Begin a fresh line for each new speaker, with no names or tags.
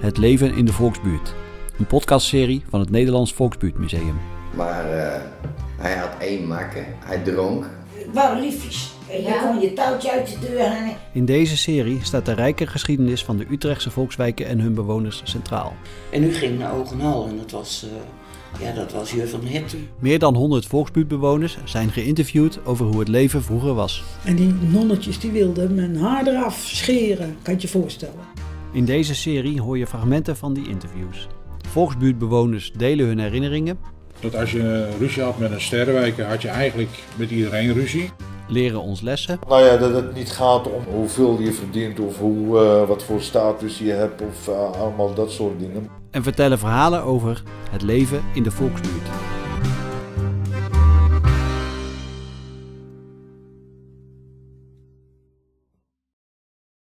Het leven in de volksbuurt. Een podcastserie van het Nederlands Volksbuurtmuseum.
Maar eh, hij had één makker. Hij dronk.
Het waren liefjes. En dan kwam je touwtje uit de deur en
In deze serie staat de rijke geschiedenis van de Utrechtse volkswijken en hun bewoners centraal.
En nu ging ik naar Ogenhal en dat was, eh, ja, dat was Jur van Herten.
Meer dan 100 volksbuurtbewoners zijn geïnterviewd over hoe het leven vroeger was.
En die nonnetjes die wilden mijn haar eraf scheren, kan je je voorstellen.
In deze serie hoor je fragmenten van die interviews. Volksbuurtbewoners delen hun herinneringen,
Dat als je ruzie had met een sterrenwijker, had je eigenlijk met iedereen ruzie.
leren ons lessen
Nou ja, dat het niet gaat om hoeveel je verdient of hoe, eh, wat voor status je hebt of eh, allemaal dat soort dingen.
en vertellen verhalen over het leven in de volksbuurt.